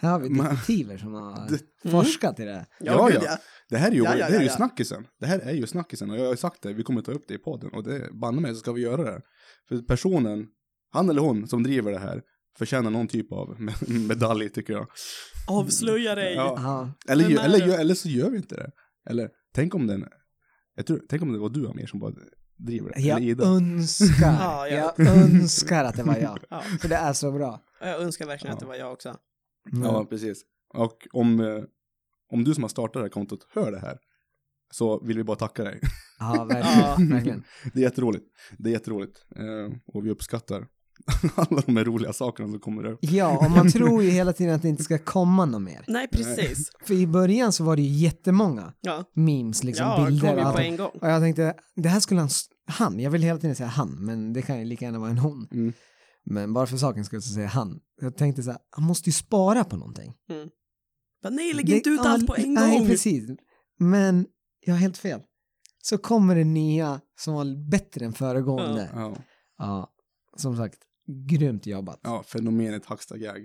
Speaker 3: Här har vi
Speaker 1: Men-
Speaker 3: detektiver som har
Speaker 2: Mm.
Speaker 3: forskat i det.
Speaker 1: Ja,
Speaker 2: gud,
Speaker 1: ja. Det här är ju,
Speaker 2: Ja, ja,
Speaker 1: det här är
Speaker 2: ja,
Speaker 1: ju
Speaker 2: ja.
Speaker 1: snackisen. Det här är ju snackisen och jag har ju sagt det, vi kommer ta upp det i podden och det banne mig så ska vi göra det. För personen, han eller hon som driver det här förtjänar någon typ av med- medalj tycker jag.
Speaker 2: Avslöja dig.
Speaker 1: Ja.
Speaker 3: Ja,
Speaker 1: Eller,
Speaker 2: Vem
Speaker 1: gö-
Speaker 2: är
Speaker 1: eller,
Speaker 2: det?
Speaker 1: gö- eller så gör vi inte det. Eller tänk om den, jag tror, tänk om det var du Amir som bara driver det.
Speaker 3: jag
Speaker 1: eller
Speaker 2: Mm.
Speaker 1: Ida.
Speaker 3: önskar,
Speaker 2: Ja, ja.
Speaker 3: jag önskar att det var jag.
Speaker 2: Ja.
Speaker 3: För det är så bra.
Speaker 2: Jag önskar verkligen att
Speaker 1: Ja.
Speaker 2: det var jag också.
Speaker 1: Ja, precis. Och om, eh, om du som har startat det här kontot hör det här så vill vi bara tacka dig.
Speaker 3: ja verkligen.
Speaker 2: Ja.
Speaker 3: verkligen.
Speaker 1: Det är jätteroligt. Det är jätteroligt. Eh, och vi uppskattar alla de här roliga sakerna som kommer upp.
Speaker 3: Ja, och man tror ju hela tiden att det inte ska komma något mer.
Speaker 2: Nej, precis.
Speaker 3: För i början så var det ju jättemånga
Speaker 2: Ja,
Speaker 3: memes, liksom
Speaker 2: ja
Speaker 3: bilder
Speaker 2: kom
Speaker 3: och
Speaker 2: ju på
Speaker 3: allt.
Speaker 2: en gång.
Speaker 3: Och jag tänkte, det här skulle han, han, jag vill hela tiden säga han, men det kan ju lika gärna vara en hon.
Speaker 1: Mm.
Speaker 3: Men bara för saken skulle jag säga han. Jag tänkte så här, han måste ju spara på någonting.
Speaker 2: Bara, nej, lägg
Speaker 3: Det-
Speaker 2: inte ut
Speaker 3: ja,
Speaker 2: allt på en
Speaker 3: Nej,
Speaker 2: gång.
Speaker 3: precis. Men jag har helt fel. Så kommer det nya som var bättre än föregående. Ja,
Speaker 1: Ja,
Speaker 2: Alltså.
Speaker 3: som sagt, grymt jobbat.
Speaker 1: ja fenomenet Hackstad Gag.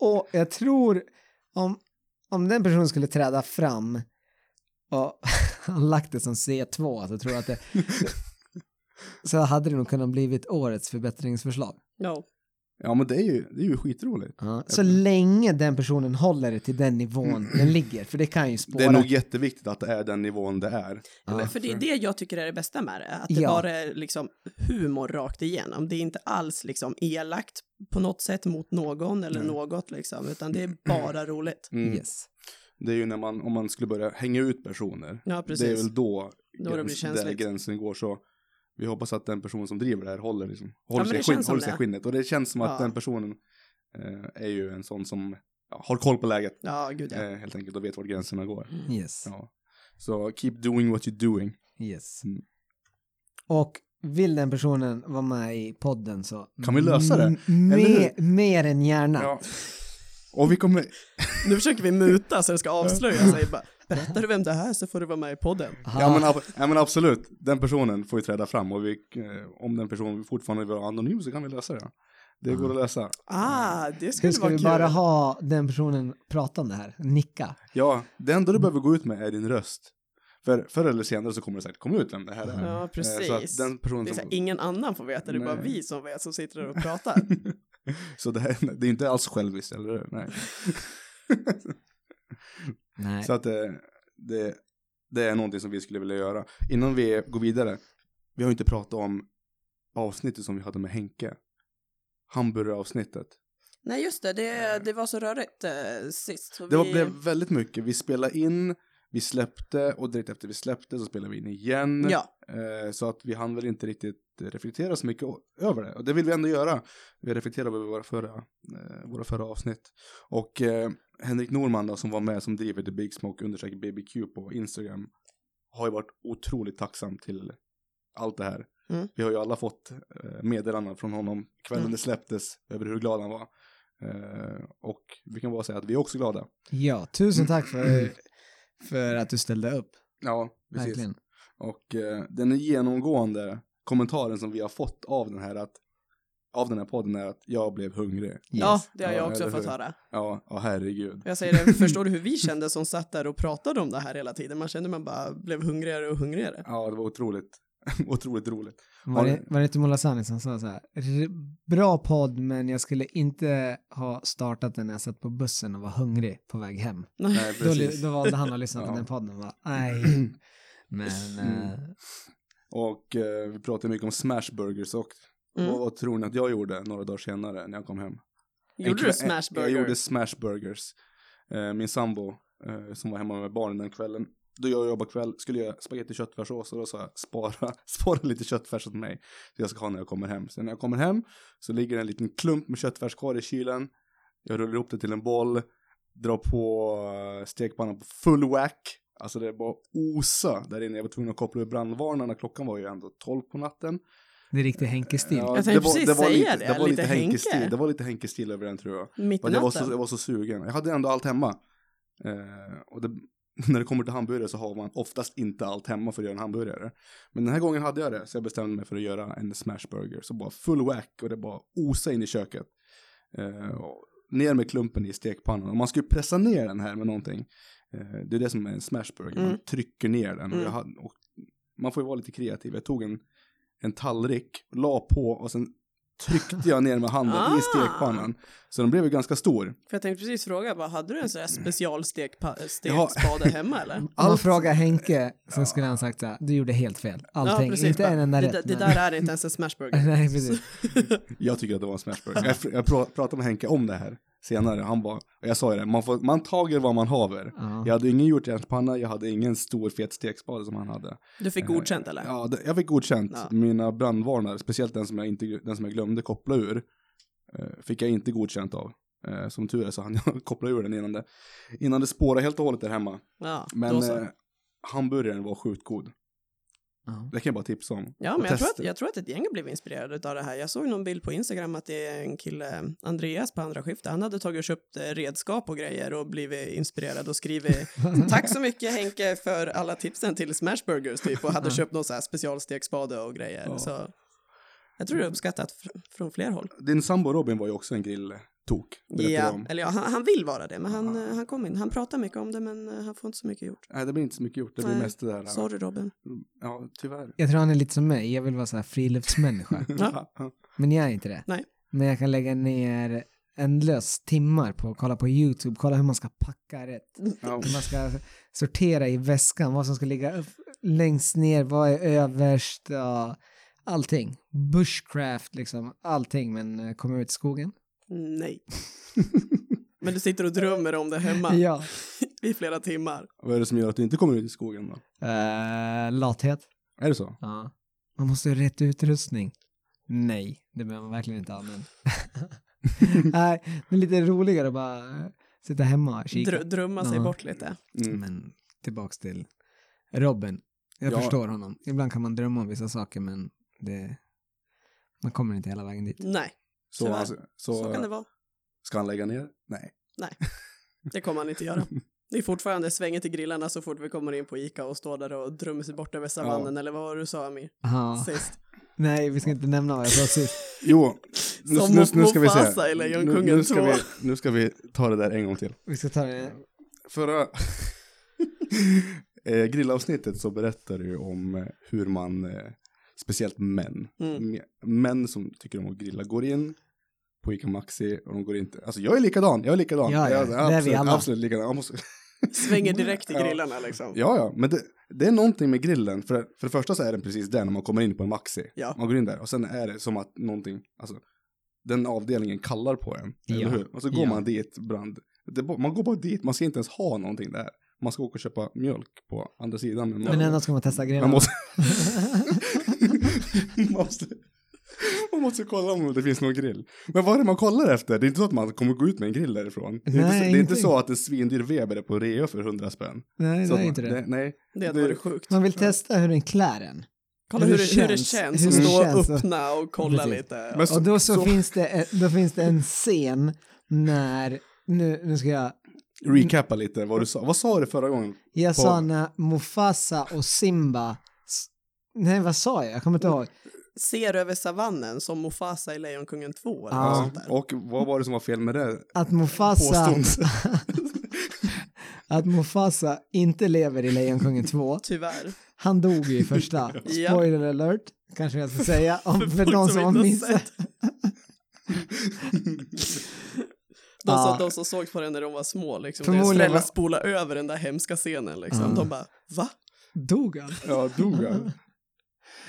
Speaker 3: Och jag tror om, om den personen skulle träda fram och han lagt det som C2 så tror jag att det så hade det nog kunnat blivit årets förbättringsförslag.
Speaker 2: Ja.
Speaker 1: Ja, men det är ju, det är ju skitroligt.
Speaker 3: Så länge den personen håller det till den nivån den ligger, för det kan ju spåra.
Speaker 1: Mm. Det är nog jätteviktigt att det är den nivån det är.
Speaker 3: Ja.
Speaker 2: För det är det jag tycker är det bästa med det, att det
Speaker 3: Ja.
Speaker 2: bara är liksom humor rakt igenom. Det är inte alls liksom elakt på något sätt mot någon eller
Speaker 1: Nej.
Speaker 2: något liksom, utan det är bara roligt.
Speaker 1: Mm.
Speaker 3: Yes.
Speaker 1: Det är ju när man, om man skulle börja hänga ut personer.
Speaker 2: Ja,
Speaker 1: Det är
Speaker 2: precis.
Speaker 1: väl då,
Speaker 2: Då det blir känsligt.
Speaker 1: där gränsen går. Så vi hoppas att den person som driver det här håller, liksom, håller,
Speaker 2: men
Speaker 1: sig,
Speaker 2: det
Speaker 1: i
Speaker 2: känns
Speaker 1: skinn,
Speaker 2: som
Speaker 1: håller sig i
Speaker 2: det.
Speaker 1: skinnet. Och det känns som att
Speaker 2: Ja.
Speaker 1: den personen eh, är ju en sån som ja, har koll på läget.
Speaker 2: Ja, gud ja.
Speaker 1: Eh, helt enkelt och vet var gränserna går.
Speaker 3: Yes.
Speaker 1: Ja. Så keep doing what you're doing.
Speaker 3: yes.
Speaker 1: Mm.
Speaker 3: Och vill den personen vara med i podden så
Speaker 1: Kan vi lösa det?
Speaker 3: M- mer,
Speaker 1: Eller
Speaker 3: mer än gärna.
Speaker 1: Ja. Och vi kommer,
Speaker 2: Nu försöker vi muta så det ska avslöja sig. Bara, Berättar du vem det här så får du vara med i podden.
Speaker 1: ja men, ab- ja men absolut, den personen får ju träda fram och vi, eh, om den personen fortfarande vill vara anonym så kan vi lösa det. Det går att lösa.
Speaker 2: Ah, det
Speaker 3: Hur
Speaker 2: skulle
Speaker 3: ska
Speaker 2: vara
Speaker 3: vi
Speaker 2: kul.
Speaker 3: bara ha den personen prata om det här? Nicka.
Speaker 1: Ja, det enda du
Speaker 2: Mm.
Speaker 1: behöver gå ut med är din röst. För förr eller senare så kommer det säkert komma ut vem det här är.
Speaker 2: Ja,
Speaker 1: Eh,
Speaker 2: precis.
Speaker 1: Så att den personen
Speaker 2: Det är så
Speaker 1: som,
Speaker 2: här, ingen annan får veta, det är bara
Speaker 1: Nej.
Speaker 2: vi som vet som sitter där och pratar.
Speaker 1: så det, här, det är inte alls själviskt, eller hur? Nej.
Speaker 3: Nej.
Speaker 1: Så att eh, det, det är någonting som vi skulle vilja göra. Innan vi går vidare, vi har ju inte pratat om avsnittet som vi hade med Henke. Hamburgeravsnittet.
Speaker 2: Nej just det, det, det var så rörigt eh, sist. Så
Speaker 1: Det var,
Speaker 2: vi,
Speaker 1: blev väldigt mycket. Vi spelade in, vi släppte och direkt efter vi släppte så spelade vi in igen.
Speaker 2: Ja,
Speaker 1: Eh, så att vi hann väl inte riktigt reflektera så mycket o- över det. Och det vill vi ändå göra. Vi reflekterar över våra förra, eh, våra förra avsnitt. Och eh, Henrik Norman då, som var med som driver The Big Smoke undersöker BBQ på Instagram har ju varit otroligt tacksam till allt det här.
Speaker 2: Mm.
Speaker 1: Vi har ju alla fått eh, meddelanden från honom kvällen
Speaker 2: Mm.
Speaker 1: det släpptes över hur glad han var. Eh, och vi kan bara säga att vi är också glada.
Speaker 3: Ja, tusen tack för, för att du ställde upp.
Speaker 1: Ja, precis.
Speaker 3: Verkligen.
Speaker 1: Och eh, den genomgående kommentaren som vi har fått av den här att av den här podden är att jag blev hungrig.
Speaker 2: ja, det har
Speaker 1: Ja,
Speaker 2: jag också
Speaker 1: eller
Speaker 2: fått
Speaker 1: hur?
Speaker 2: höra.
Speaker 1: Ja, ja herregud.
Speaker 2: Jag säger det, förstår du hur vi kände som satt där och pratade om det här hela tiden? Man kände man bara blev hungrigare och hungrigare.
Speaker 1: Ja, det var otroligt, otroligt roligt.
Speaker 3: Var,
Speaker 1: Ja,
Speaker 3: det, var det inte Mola Sani som sa så här, "R- bra podd men jag skulle inte ha startat den när jag satt på bussen och var hungrig på väg hem.
Speaker 1: Nej,
Speaker 3: Då, li-
Speaker 1: precis.
Speaker 3: då valde han att lyssna på
Speaker 1: Ja.
Speaker 3: den podden och bara, nej. Men eh,
Speaker 1: Och eh, vi pratade mycket om smashburgers och
Speaker 2: Mm.
Speaker 1: vad, vad tror ni att jag gjorde några dagar senare när jag kom hem? En kväll-
Speaker 2: Gjorde du
Speaker 1: Jag
Speaker 2: smashburger?
Speaker 1: gjorde smashburgers. Eh, min sambo eh, som var hemma med barnen den kvällen. Då jag jobbade kväll skulle jag göra spagetti köttfärssås och då sa jag spara, spara lite köttfärs åt mig. Så jag ska ha när jag kommer hem. Sen när jag kommer hem så ligger det en liten klump med köttfärs kvar i kylen. Jag rullar ihop det till en boll. Drar på eh, stekpannan på full whack. Alltså det bara osa där inne. Jag var tvungen att koppla ur brandvarnarna. Klockan var ju ändå 12 på natten.
Speaker 3: det är riktig Henke-stil.
Speaker 1: Ja,
Speaker 2: tänkte precis
Speaker 1: det var
Speaker 2: säga
Speaker 1: lite, var
Speaker 2: det,
Speaker 1: lite
Speaker 2: lite
Speaker 1: Henke-stil.
Speaker 2: Henke.
Speaker 1: Det var lite Henke-stil över den tror jag.
Speaker 2: Mitt i
Speaker 1: För att jag, var så, jag
Speaker 2: natten?
Speaker 1: var så sugen. Jag hade ändå allt hemma. Eh, och det, när det kommer till hamburgare så har man oftast inte allt hemma för att göra en hamburgare. Men den här gången hade jag det, så jag bestämde mig för att göra en smashburger. Så bara full whack och det bara osa in i köket. Eh, och ner med klumpen i stekpannan. Och man ska ju pressa ner den här med någonting. Eh, det är det som är en smashburger, man
Speaker 2: Mm.
Speaker 1: trycker ner den. Och
Speaker 2: Mm.
Speaker 1: jag hade, och man får ju vara lite kreativ. Jag tog en, en tallrik, la på och sen tryckte jag ner med handen i
Speaker 2: Ah.
Speaker 1: stekpannan. Så den blev ju ganska stor.
Speaker 2: För jag tänkte precis fråga, bara, hade du en sån här
Speaker 1: Ja.
Speaker 2: specialstekspade hemma eller?
Speaker 3: Om man
Speaker 1: Allt-
Speaker 3: frågar Henke så skulle han sagt så här, du gjorde helt fel. Allting, inte
Speaker 2: bara,
Speaker 3: en enda
Speaker 2: det,
Speaker 3: rätt.
Speaker 2: Det
Speaker 3: men-
Speaker 2: där är inte ens en smashburger.
Speaker 3: Nej, precis.
Speaker 1: Jag tycker att det var en smashburger. Jag, jag pra- pratade med Henke om det här senare. Han bara, och jag sa ju det, man, får, man tager vad man haver.
Speaker 3: Ja.
Speaker 1: Jag hade ingen hjortjärnspanna, jag hade ingen stor fet stekspade som han hade.
Speaker 2: Du fick godkänt eller?
Speaker 1: Ja, det, jag fick godkänt.
Speaker 2: Ja.
Speaker 1: Mina brandvarnare, speciellt den som jag, inte, den som jag glömde koppla ur, eh, fick jag inte godkänt av. Eh, som tur är så hann jag koppla ur den innan det, innan det spårade helt och hållet där hemma.
Speaker 2: Ja,
Speaker 1: Men
Speaker 2: då så.
Speaker 1: eh, hamburgaren var sjukt god.
Speaker 3: Ja.
Speaker 1: Det kan jag bara tipsa om.
Speaker 2: Ja,
Speaker 1: Och
Speaker 2: men jag tror, att,
Speaker 1: testa.
Speaker 2: jag tror att ett gäng blev inspirerade av det här. Jag såg någon bild på Instagram att det är en kille, Andreas på andra skiftet, han hade tagit och köpt eh, redskap och grejer och blivit inspirerad och skrivit tack så mycket Henke för alla tipsen till Smashburgers typ och hade köpt någon så här specialstekspade och grejer.
Speaker 1: Ja.
Speaker 2: Så jag tror det är uppskattat fr- från fler håll.
Speaker 1: Din sambo Robin var ju också en grilltok. berättade du
Speaker 2: Ja,
Speaker 1: om.
Speaker 2: eller ja, han, han vill vara det, men han, eh, han kom in. Han pratar mycket om det, men eh, han får inte så mycket gjort.
Speaker 1: Nej, det blir inte så mycket gjort. Det blir
Speaker 2: Nej.
Speaker 1: mest det där. eh,
Speaker 2: Sorry Robin.
Speaker 1: Ja, tyvärr.
Speaker 3: Jag tror han är lite som mig, jag vill vara så här friluftsmänniska.
Speaker 2: Ja.
Speaker 3: Men jag är inte det.
Speaker 2: Nej.
Speaker 3: Men jag kan lägga ner ändlös timmar på att kolla på YouTube, kolla hur man ska packa rätt.
Speaker 1: Ja.
Speaker 3: Hur man ska sortera i väskan, vad som ska ligga upp, längst ner, vad är överst, ja, allting. Bushcraft, liksom, allting, men eh, kommer ut i skogen.
Speaker 2: Nej. men du sitter och drömmer om det hemma
Speaker 3: Ja.
Speaker 2: i flera timmar.
Speaker 1: Vad är det som gör att du inte kommer ut i skogen då?
Speaker 3: Eh, lathet.
Speaker 1: Är det så?
Speaker 3: Ja. Man måste ha rätt utrustning. Nej, det behöver man verkligen inte använda. Nej, det är lite roligare att bara sitta hemma och kika.
Speaker 2: Dr- drömma sig
Speaker 3: Ja.
Speaker 2: bort lite.
Speaker 1: Mm.
Speaker 3: Men tillbaks till Robin. Jag
Speaker 1: Ja.
Speaker 3: förstår honom. Ibland kan man drömma om vissa saker men det... man kommer inte hela vägen dit.
Speaker 2: Nej,
Speaker 1: Så,
Speaker 2: Tyvärr.
Speaker 1: alltså, så,
Speaker 2: så, kan det vara.
Speaker 1: ska han lägga ner? Nej.
Speaker 2: Det kommer han inte göra. Det är fortfarande svänget i grillarna så fort vi kommer in på Ica och står där och drömmer sig bort över savannen eller vad var det du sa Amir?
Speaker 3: Ja.
Speaker 2: Sist.
Speaker 3: Nej, vi ska inte nämna vad jag sa sist.
Speaker 1: Jo, nu,
Speaker 2: Som
Speaker 1: nu, nu ska vi
Speaker 2: Mufasa
Speaker 1: se. Nu,
Speaker 2: i Lejonkungen
Speaker 1: nu, ska
Speaker 2: 2.
Speaker 1: vi, nu ska vi ta det där en gång till.
Speaker 3: Vi ska ta det.
Speaker 1: Förra eh, grillavsnittet så berättar du ju om eh, hur man, eh, speciellt män,
Speaker 2: Mm.
Speaker 1: m- män som tycker om att grilla går in på Ica Maxi och de går inte. Alltså jag är likadan, jag är likadan.
Speaker 3: Ja, ja,
Speaker 1: jag,
Speaker 3: det är vi
Speaker 1: absolut,
Speaker 3: alla.
Speaker 1: Absolut likadan. Jag måste,
Speaker 2: Svänger direkt i
Speaker 1: Ja.
Speaker 2: grillarna liksom.
Speaker 1: Ja, ja, men det, det är någonting med grillen. För, för det första så är den precis där när man kommer in på en maxi.
Speaker 2: Ja.
Speaker 1: Man går in där och sen är det som att någonting, alltså den avdelningen kallar på en.
Speaker 3: Ja.
Speaker 1: Eller hur? Och så går
Speaker 3: Ja.
Speaker 1: man dit brand. Det, är bara- man går bara dit, man ska inte ens ha någonting där. Man ska åka och köpa mjölk på andra sidan. Men man,
Speaker 3: Men ändå ska man testa grejerna.
Speaker 1: man måste... man, måste man måste kolla om det finns någon grill. Men vad är det man kollar efter? Det är inte så att man kommer gå ut med en grill därifrån. Det är, inte, så,
Speaker 3: Nej,
Speaker 1: det är inte
Speaker 3: ingenting.
Speaker 1: så att en svindyr Weber är på rea för hundra spänn.
Speaker 3: Nej,
Speaker 1: så
Speaker 3: det
Speaker 1: att
Speaker 3: är
Speaker 1: man,
Speaker 3: inte det.
Speaker 1: Nej,
Speaker 2: Det hade
Speaker 1: Det-
Speaker 2: varit sjukt.
Speaker 3: Man vill testa hur den klär en.
Speaker 2: Kolla hur, det- hur det känns
Speaker 3: hur
Speaker 2: att
Speaker 3: det
Speaker 2: stå
Speaker 3: känns
Speaker 2: och
Speaker 3: att-
Speaker 2: öppna och kolla
Speaker 3: Precis.
Speaker 2: lite.
Speaker 1: Men så-
Speaker 3: Och då så,
Speaker 1: så-
Speaker 3: Finns det, en- då finns det en scen när, nu, nu ska jag,
Speaker 1: recappa lite vad du sa. Vad sa du förra gången?
Speaker 3: jag
Speaker 1: På-
Speaker 3: sa när Mufasa och Simba, s- nej vad sa jag, jag kommer inte ihåg.
Speaker 2: Ser över savannen som Mufasa i Lejonkungen 2 eller
Speaker 3: Ja.
Speaker 2: något
Speaker 1: Ja,
Speaker 2: sånt där.
Speaker 1: Alltså, och vad var det som var fel med det
Speaker 3: Att
Speaker 2: Alltså.
Speaker 3: Mufasa,
Speaker 1: påståendet?
Speaker 3: att Mufasa inte lever i Lejonkungen 2.
Speaker 2: Tyvärr.
Speaker 3: Han dog ju i första.
Speaker 2: Ja.
Speaker 3: Spoiler alert, kanske jag ska säga. Om, för
Speaker 2: folk
Speaker 3: de
Speaker 2: som
Speaker 3: som har
Speaker 2: inte har
Speaker 3: missat.
Speaker 2: De,
Speaker 3: Ja.
Speaker 2: som, de som såg på den när de var små, liksom.
Speaker 3: Förmodligen
Speaker 2: Förmodligen. Deras föräldrar
Speaker 3: var-
Speaker 2: spolade över den där hemska scenen, liksom.
Speaker 3: Ja.
Speaker 2: De bara, va?
Speaker 3: Dog han?
Speaker 1: Ja, dog han?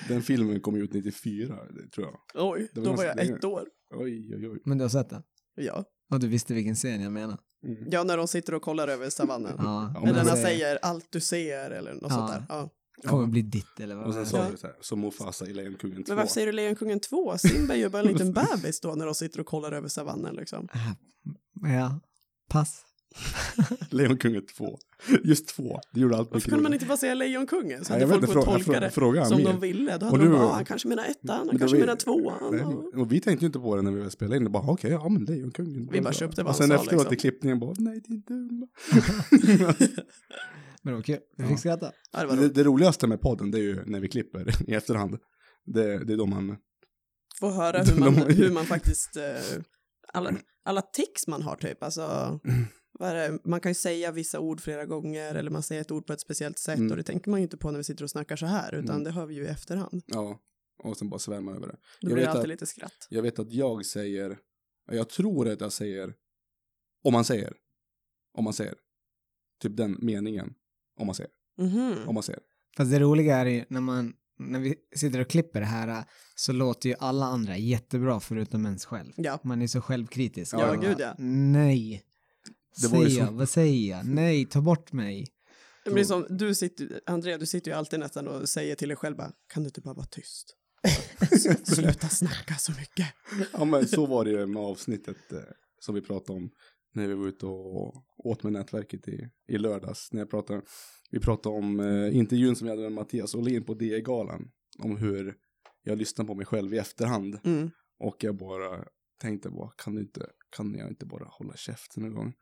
Speaker 1: Den filmen kom ut 94, det tror jag.
Speaker 2: Oj,
Speaker 1: Det var
Speaker 2: då var
Speaker 1: ganska
Speaker 2: jag
Speaker 1: länge.
Speaker 2: ett år.
Speaker 1: Oj, oj, oj.
Speaker 3: Men du har sett den?
Speaker 2: Ja.
Speaker 3: Och du visste vilken scen jag menar?
Speaker 1: Mm.
Speaker 2: ja, när de sitter och kollar över savannen.
Speaker 3: Ja.
Speaker 1: Ja,
Speaker 3: men
Speaker 2: Eller när han
Speaker 3: det
Speaker 2: säger allt du ser eller något
Speaker 3: Ja.
Speaker 2: sånt där. Ja.
Speaker 3: Kommer bli ditt eller vad
Speaker 1: Och
Speaker 3: det är.
Speaker 1: sen sa du så här, som Mufasa i Lejonkungen 2.
Speaker 2: Men varför säger du Lejonkungen 2? Simba är ju bara en liten bebis då när de sitter och kollar över savannen liksom.
Speaker 3: Äh, Ja, pass.
Speaker 1: Lejonkungen 2. Just 2, det gjorde allt
Speaker 2: Varför
Speaker 1: mycket
Speaker 2: kunde man
Speaker 1: roligare.
Speaker 2: inte bara säga Lejonkungen? Så
Speaker 1: Nej,
Speaker 2: hade
Speaker 1: jag vet inte,
Speaker 2: folk fått
Speaker 1: fråga-
Speaker 2: tolka det
Speaker 1: fråga- fråga
Speaker 2: som
Speaker 1: Amir.
Speaker 2: de ville. Då
Speaker 1: Och
Speaker 2: hade de
Speaker 1: du-
Speaker 2: bara, ah, han kanske menar ettan, han
Speaker 1: Men då
Speaker 2: kanske
Speaker 1: vi-
Speaker 2: menar tvåan. och-
Speaker 1: Nej, och vi tänkte ju inte på det när vi spelade in, det bara "Ah, okej, ja men Lejonkungen.
Speaker 2: Vi bara köpte vad
Speaker 1: Och
Speaker 2: han
Speaker 1: sen
Speaker 2: sa,
Speaker 1: efteråt i
Speaker 2: liksom.
Speaker 1: klippningen bara, nej det är dumma.
Speaker 3: Men det var kul. Vi
Speaker 1: Ja.
Speaker 3: fick skratta.
Speaker 2: Ja, det var
Speaker 1: Det,
Speaker 2: roligt.
Speaker 1: det roligaste med podden det är ju när vi klipper i efterhand. Det, det är då man
Speaker 2: Få höra
Speaker 1: De-
Speaker 2: hur man,
Speaker 1: de har ju-
Speaker 2: hur man faktiskt, eh, alla, alla tics man har typ, alltså,
Speaker 1: Mm.
Speaker 2: vad är det? man kan ju säga vissa ord flera gånger eller man säger ett ord på ett speciellt sätt
Speaker 1: Mm.
Speaker 2: och det tänker man ju inte på när vi sitter och snackar så här utan
Speaker 1: Mm.
Speaker 2: det hör vi ju i efterhand.
Speaker 1: Ja, och sen bara svämma över det.
Speaker 2: Då
Speaker 1: Jag
Speaker 2: blir det
Speaker 1: vet
Speaker 2: alltid
Speaker 1: att-
Speaker 2: lite skratt.
Speaker 1: Jag vet att jag säger, jag tror att jag säger, om man säger, om man säger, typ den meningen, om man säger,
Speaker 2: Mhm.
Speaker 1: om man säger.
Speaker 3: Fast det roliga är ju när man, när vi sitter och klipper det här äh, så låter ju alla andra jättebra förutom ens själv.
Speaker 2: Ja,
Speaker 3: Man är så självkritisk.
Speaker 1: Ja,
Speaker 3: Man bara,
Speaker 2: gud, ja.
Speaker 3: Nej.
Speaker 1: Det var ju
Speaker 3: Säger jag,
Speaker 1: så-
Speaker 3: vad säger jag? Nej, ta bort mig.
Speaker 2: det blir som, du sitter, Andrea, du sitter ju alltid nästan och säger till dig själv bara, kan du inte bara vara tyst? Alltså, Sluta snacka så mycket.
Speaker 1: Ja men så var det ju med avsnittet eh, som vi pratade om när vi var ute och åt med nätverket i, i lördags. När jag pratade, vi pratade om eh, intervjun som jag hade med Mattias Åhlin på DE-galan. Om hur jag lyssnar på mig själv i efterhand.
Speaker 2: Mm.
Speaker 1: Och jag bara tänkte bara, kan, du inte, kan jag inte bara hålla käften någon gång?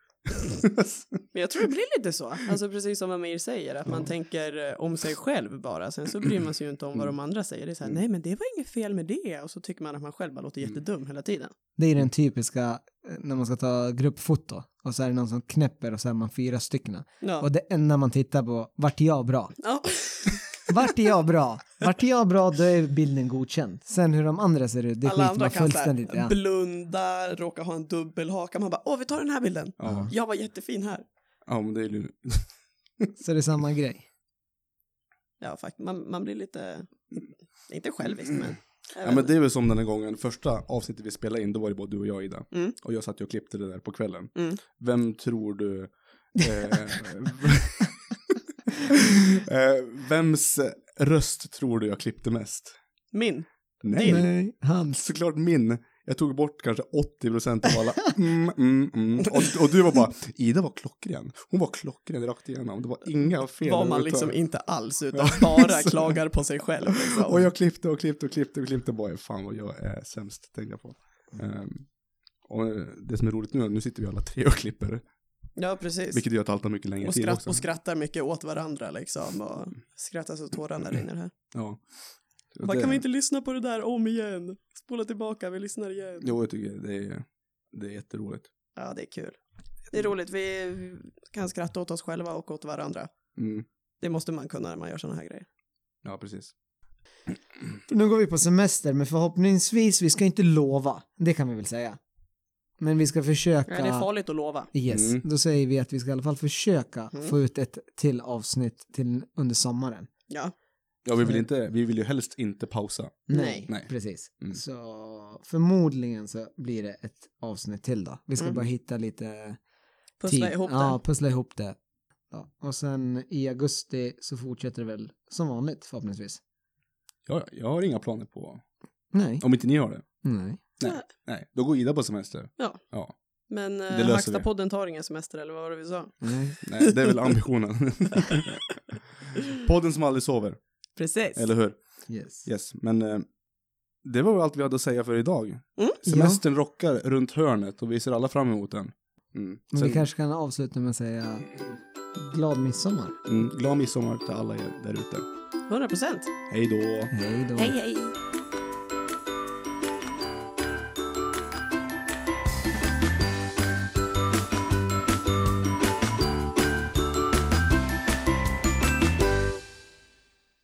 Speaker 2: Men jag tror det blir lite så, alltså precis som Amir säger, att man tänker eh, om sig själv bara, sen så bryr man sig ju inte om vad
Speaker 1: Mm.
Speaker 2: de andra säger, det är så här, nej men det var inget fel med det, och så tycker man att man själv bara
Speaker 1: Mm.
Speaker 2: låter jättedum hela tiden.
Speaker 3: Det är den typiska eh, när man ska ta gruppfoto och så är det någon som knäpper och så är man fyra stycken.
Speaker 2: Ja.
Speaker 3: Och det enda man tittar på, vart är jag bra?
Speaker 2: ja.
Speaker 3: Vart är jag bra? Vart är jag bra, då är bilden godkänd. Sen hur de andra ser ut, det
Speaker 2: Alla
Speaker 3: skiter
Speaker 2: andra
Speaker 3: man
Speaker 2: kan så här,
Speaker 3: fullständigt ja.
Speaker 2: blunda, råka ha en dubbelhaka, man bara, åh vi tar den här bilden,
Speaker 1: Ja.
Speaker 2: jag var jättefin här.
Speaker 1: Ja, men det är ju...
Speaker 3: Så det är samma grej.
Speaker 2: Ja, faktiskt, man, man blir lite, inte självisk men. jag
Speaker 1: Ja,
Speaker 2: vet
Speaker 1: men
Speaker 2: inte.
Speaker 1: det är väl som den här gången, första avsnittet vi spelade in, då var det bara du och jag Ida.
Speaker 2: Mm.
Speaker 1: Och jag satt ju och klippte det där på kvällen.
Speaker 2: Mm.
Speaker 1: Vem tror du... Eh, eh, vems röst tror du jag klippte mest?
Speaker 2: Min,
Speaker 1: Nej,
Speaker 2: Din.
Speaker 3: Nej, hans.
Speaker 1: såklart min. Jag tog bort kanske 80% av alla mm, mm, mm. Och, och du var bara, Ida var klockren. Hon var klockren rakt igenom. Det var inga fel.
Speaker 2: var man
Speaker 1: överhuvudtaget.
Speaker 2: liksom inte alls, utan bara klagar på sig själv. Liksom.
Speaker 1: Och jag klippte och klippte och klippte och klippte bara, fan vad jag är sämst, tänkte jag på. Ehm, och det som är roligt nu är att nu sitter vi alla tre och klipper,
Speaker 2: Ja, precis.
Speaker 1: vilket gör att allt tar mycket längre
Speaker 2: Och,
Speaker 1: tid
Speaker 2: skratt,
Speaker 1: också.
Speaker 2: och skrattar mycket åt varandra liksom och skrattar så tårarna rinner här.
Speaker 1: Mm. Ja. Så
Speaker 2: Bara,
Speaker 1: det-
Speaker 2: kan vi inte lyssna på det där om igen? Spola tillbaka, vi lyssnar igen.
Speaker 1: Jo, jag tycker det är, det är jätteroligt.
Speaker 2: Ja, det är kul. Det är roligt, vi kan skratta åt oss själva och åt varandra.
Speaker 1: Mm.
Speaker 2: Det måste man kunna när man gör sådana här grejer.
Speaker 1: Ja, precis.
Speaker 3: Nu går vi på semester, men förhoppningsvis, vi ska inte lova. Det kan vi väl säga. Men vi ska försöka.
Speaker 2: Nej, det är farligt att lova.
Speaker 3: Yes,
Speaker 1: Mm.
Speaker 3: då säger vi att vi ska i alla fall försöka
Speaker 2: Mm.
Speaker 3: få ut ett till avsnitt till under sommaren.
Speaker 2: Ja.
Speaker 1: Ja, vi vill, inte, vi vill ju helst inte pausa.
Speaker 2: Nej.
Speaker 1: Nej.
Speaker 3: Precis.
Speaker 1: Mm.
Speaker 3: Så förmodligen så blir det ett avsnitt till då. Vi ska
Speaker 2: Mm.
Speaker 3: bara hitta lite
Speaker 2: Pussla
Speaker 3: tid.
Speaker 2: ihop det.
Speaker 3: Ja, pussla ihop det. Ja. Och sen i augusti så fortsätter det väl som vanligt förhoppningsvis.
Speaker 1: Jag, jag har inga planer på,
Speaker 3: Nej.
Speaker 1: om inte ni har det.
Speaker 3: Nej.
Speaker 1: Nej, då går Ida på semester.
Speaker 2: Ja.
Speaker 1: ja.
Speaker 2: Men eh,
Speaker 1: löser vi.
Speaker 2: Hackstapodden tar ingen semester eller vad var det vi sa?
Speaker 3: Nej.
Speaker 1: Nej, det är väl ambitionen. Podden som aldrig sover,
Speaker 2: Precis.
Speaker 1: eller hur?
Speaker 3: Yes.
Speaker 1: Yes, men eh, det var väl allt vi hade att säga för idag.
Speaker 2: Mm.
Speaker 1: Semestern rockar runt hörnet och vi ser alla fram emot den. Mm.
Speaker 3: Men
Speaker 1: Sen,
Speaker 3: vi kanske kan avsluta med att säga glad midsommar.
Speaker 1: mm, glad midsommar till alla er där ute.
Speaker 2: 100 procent.
Speaker 1: Hej då!
Speaker 3: Hej då.
Speaker 2: hej.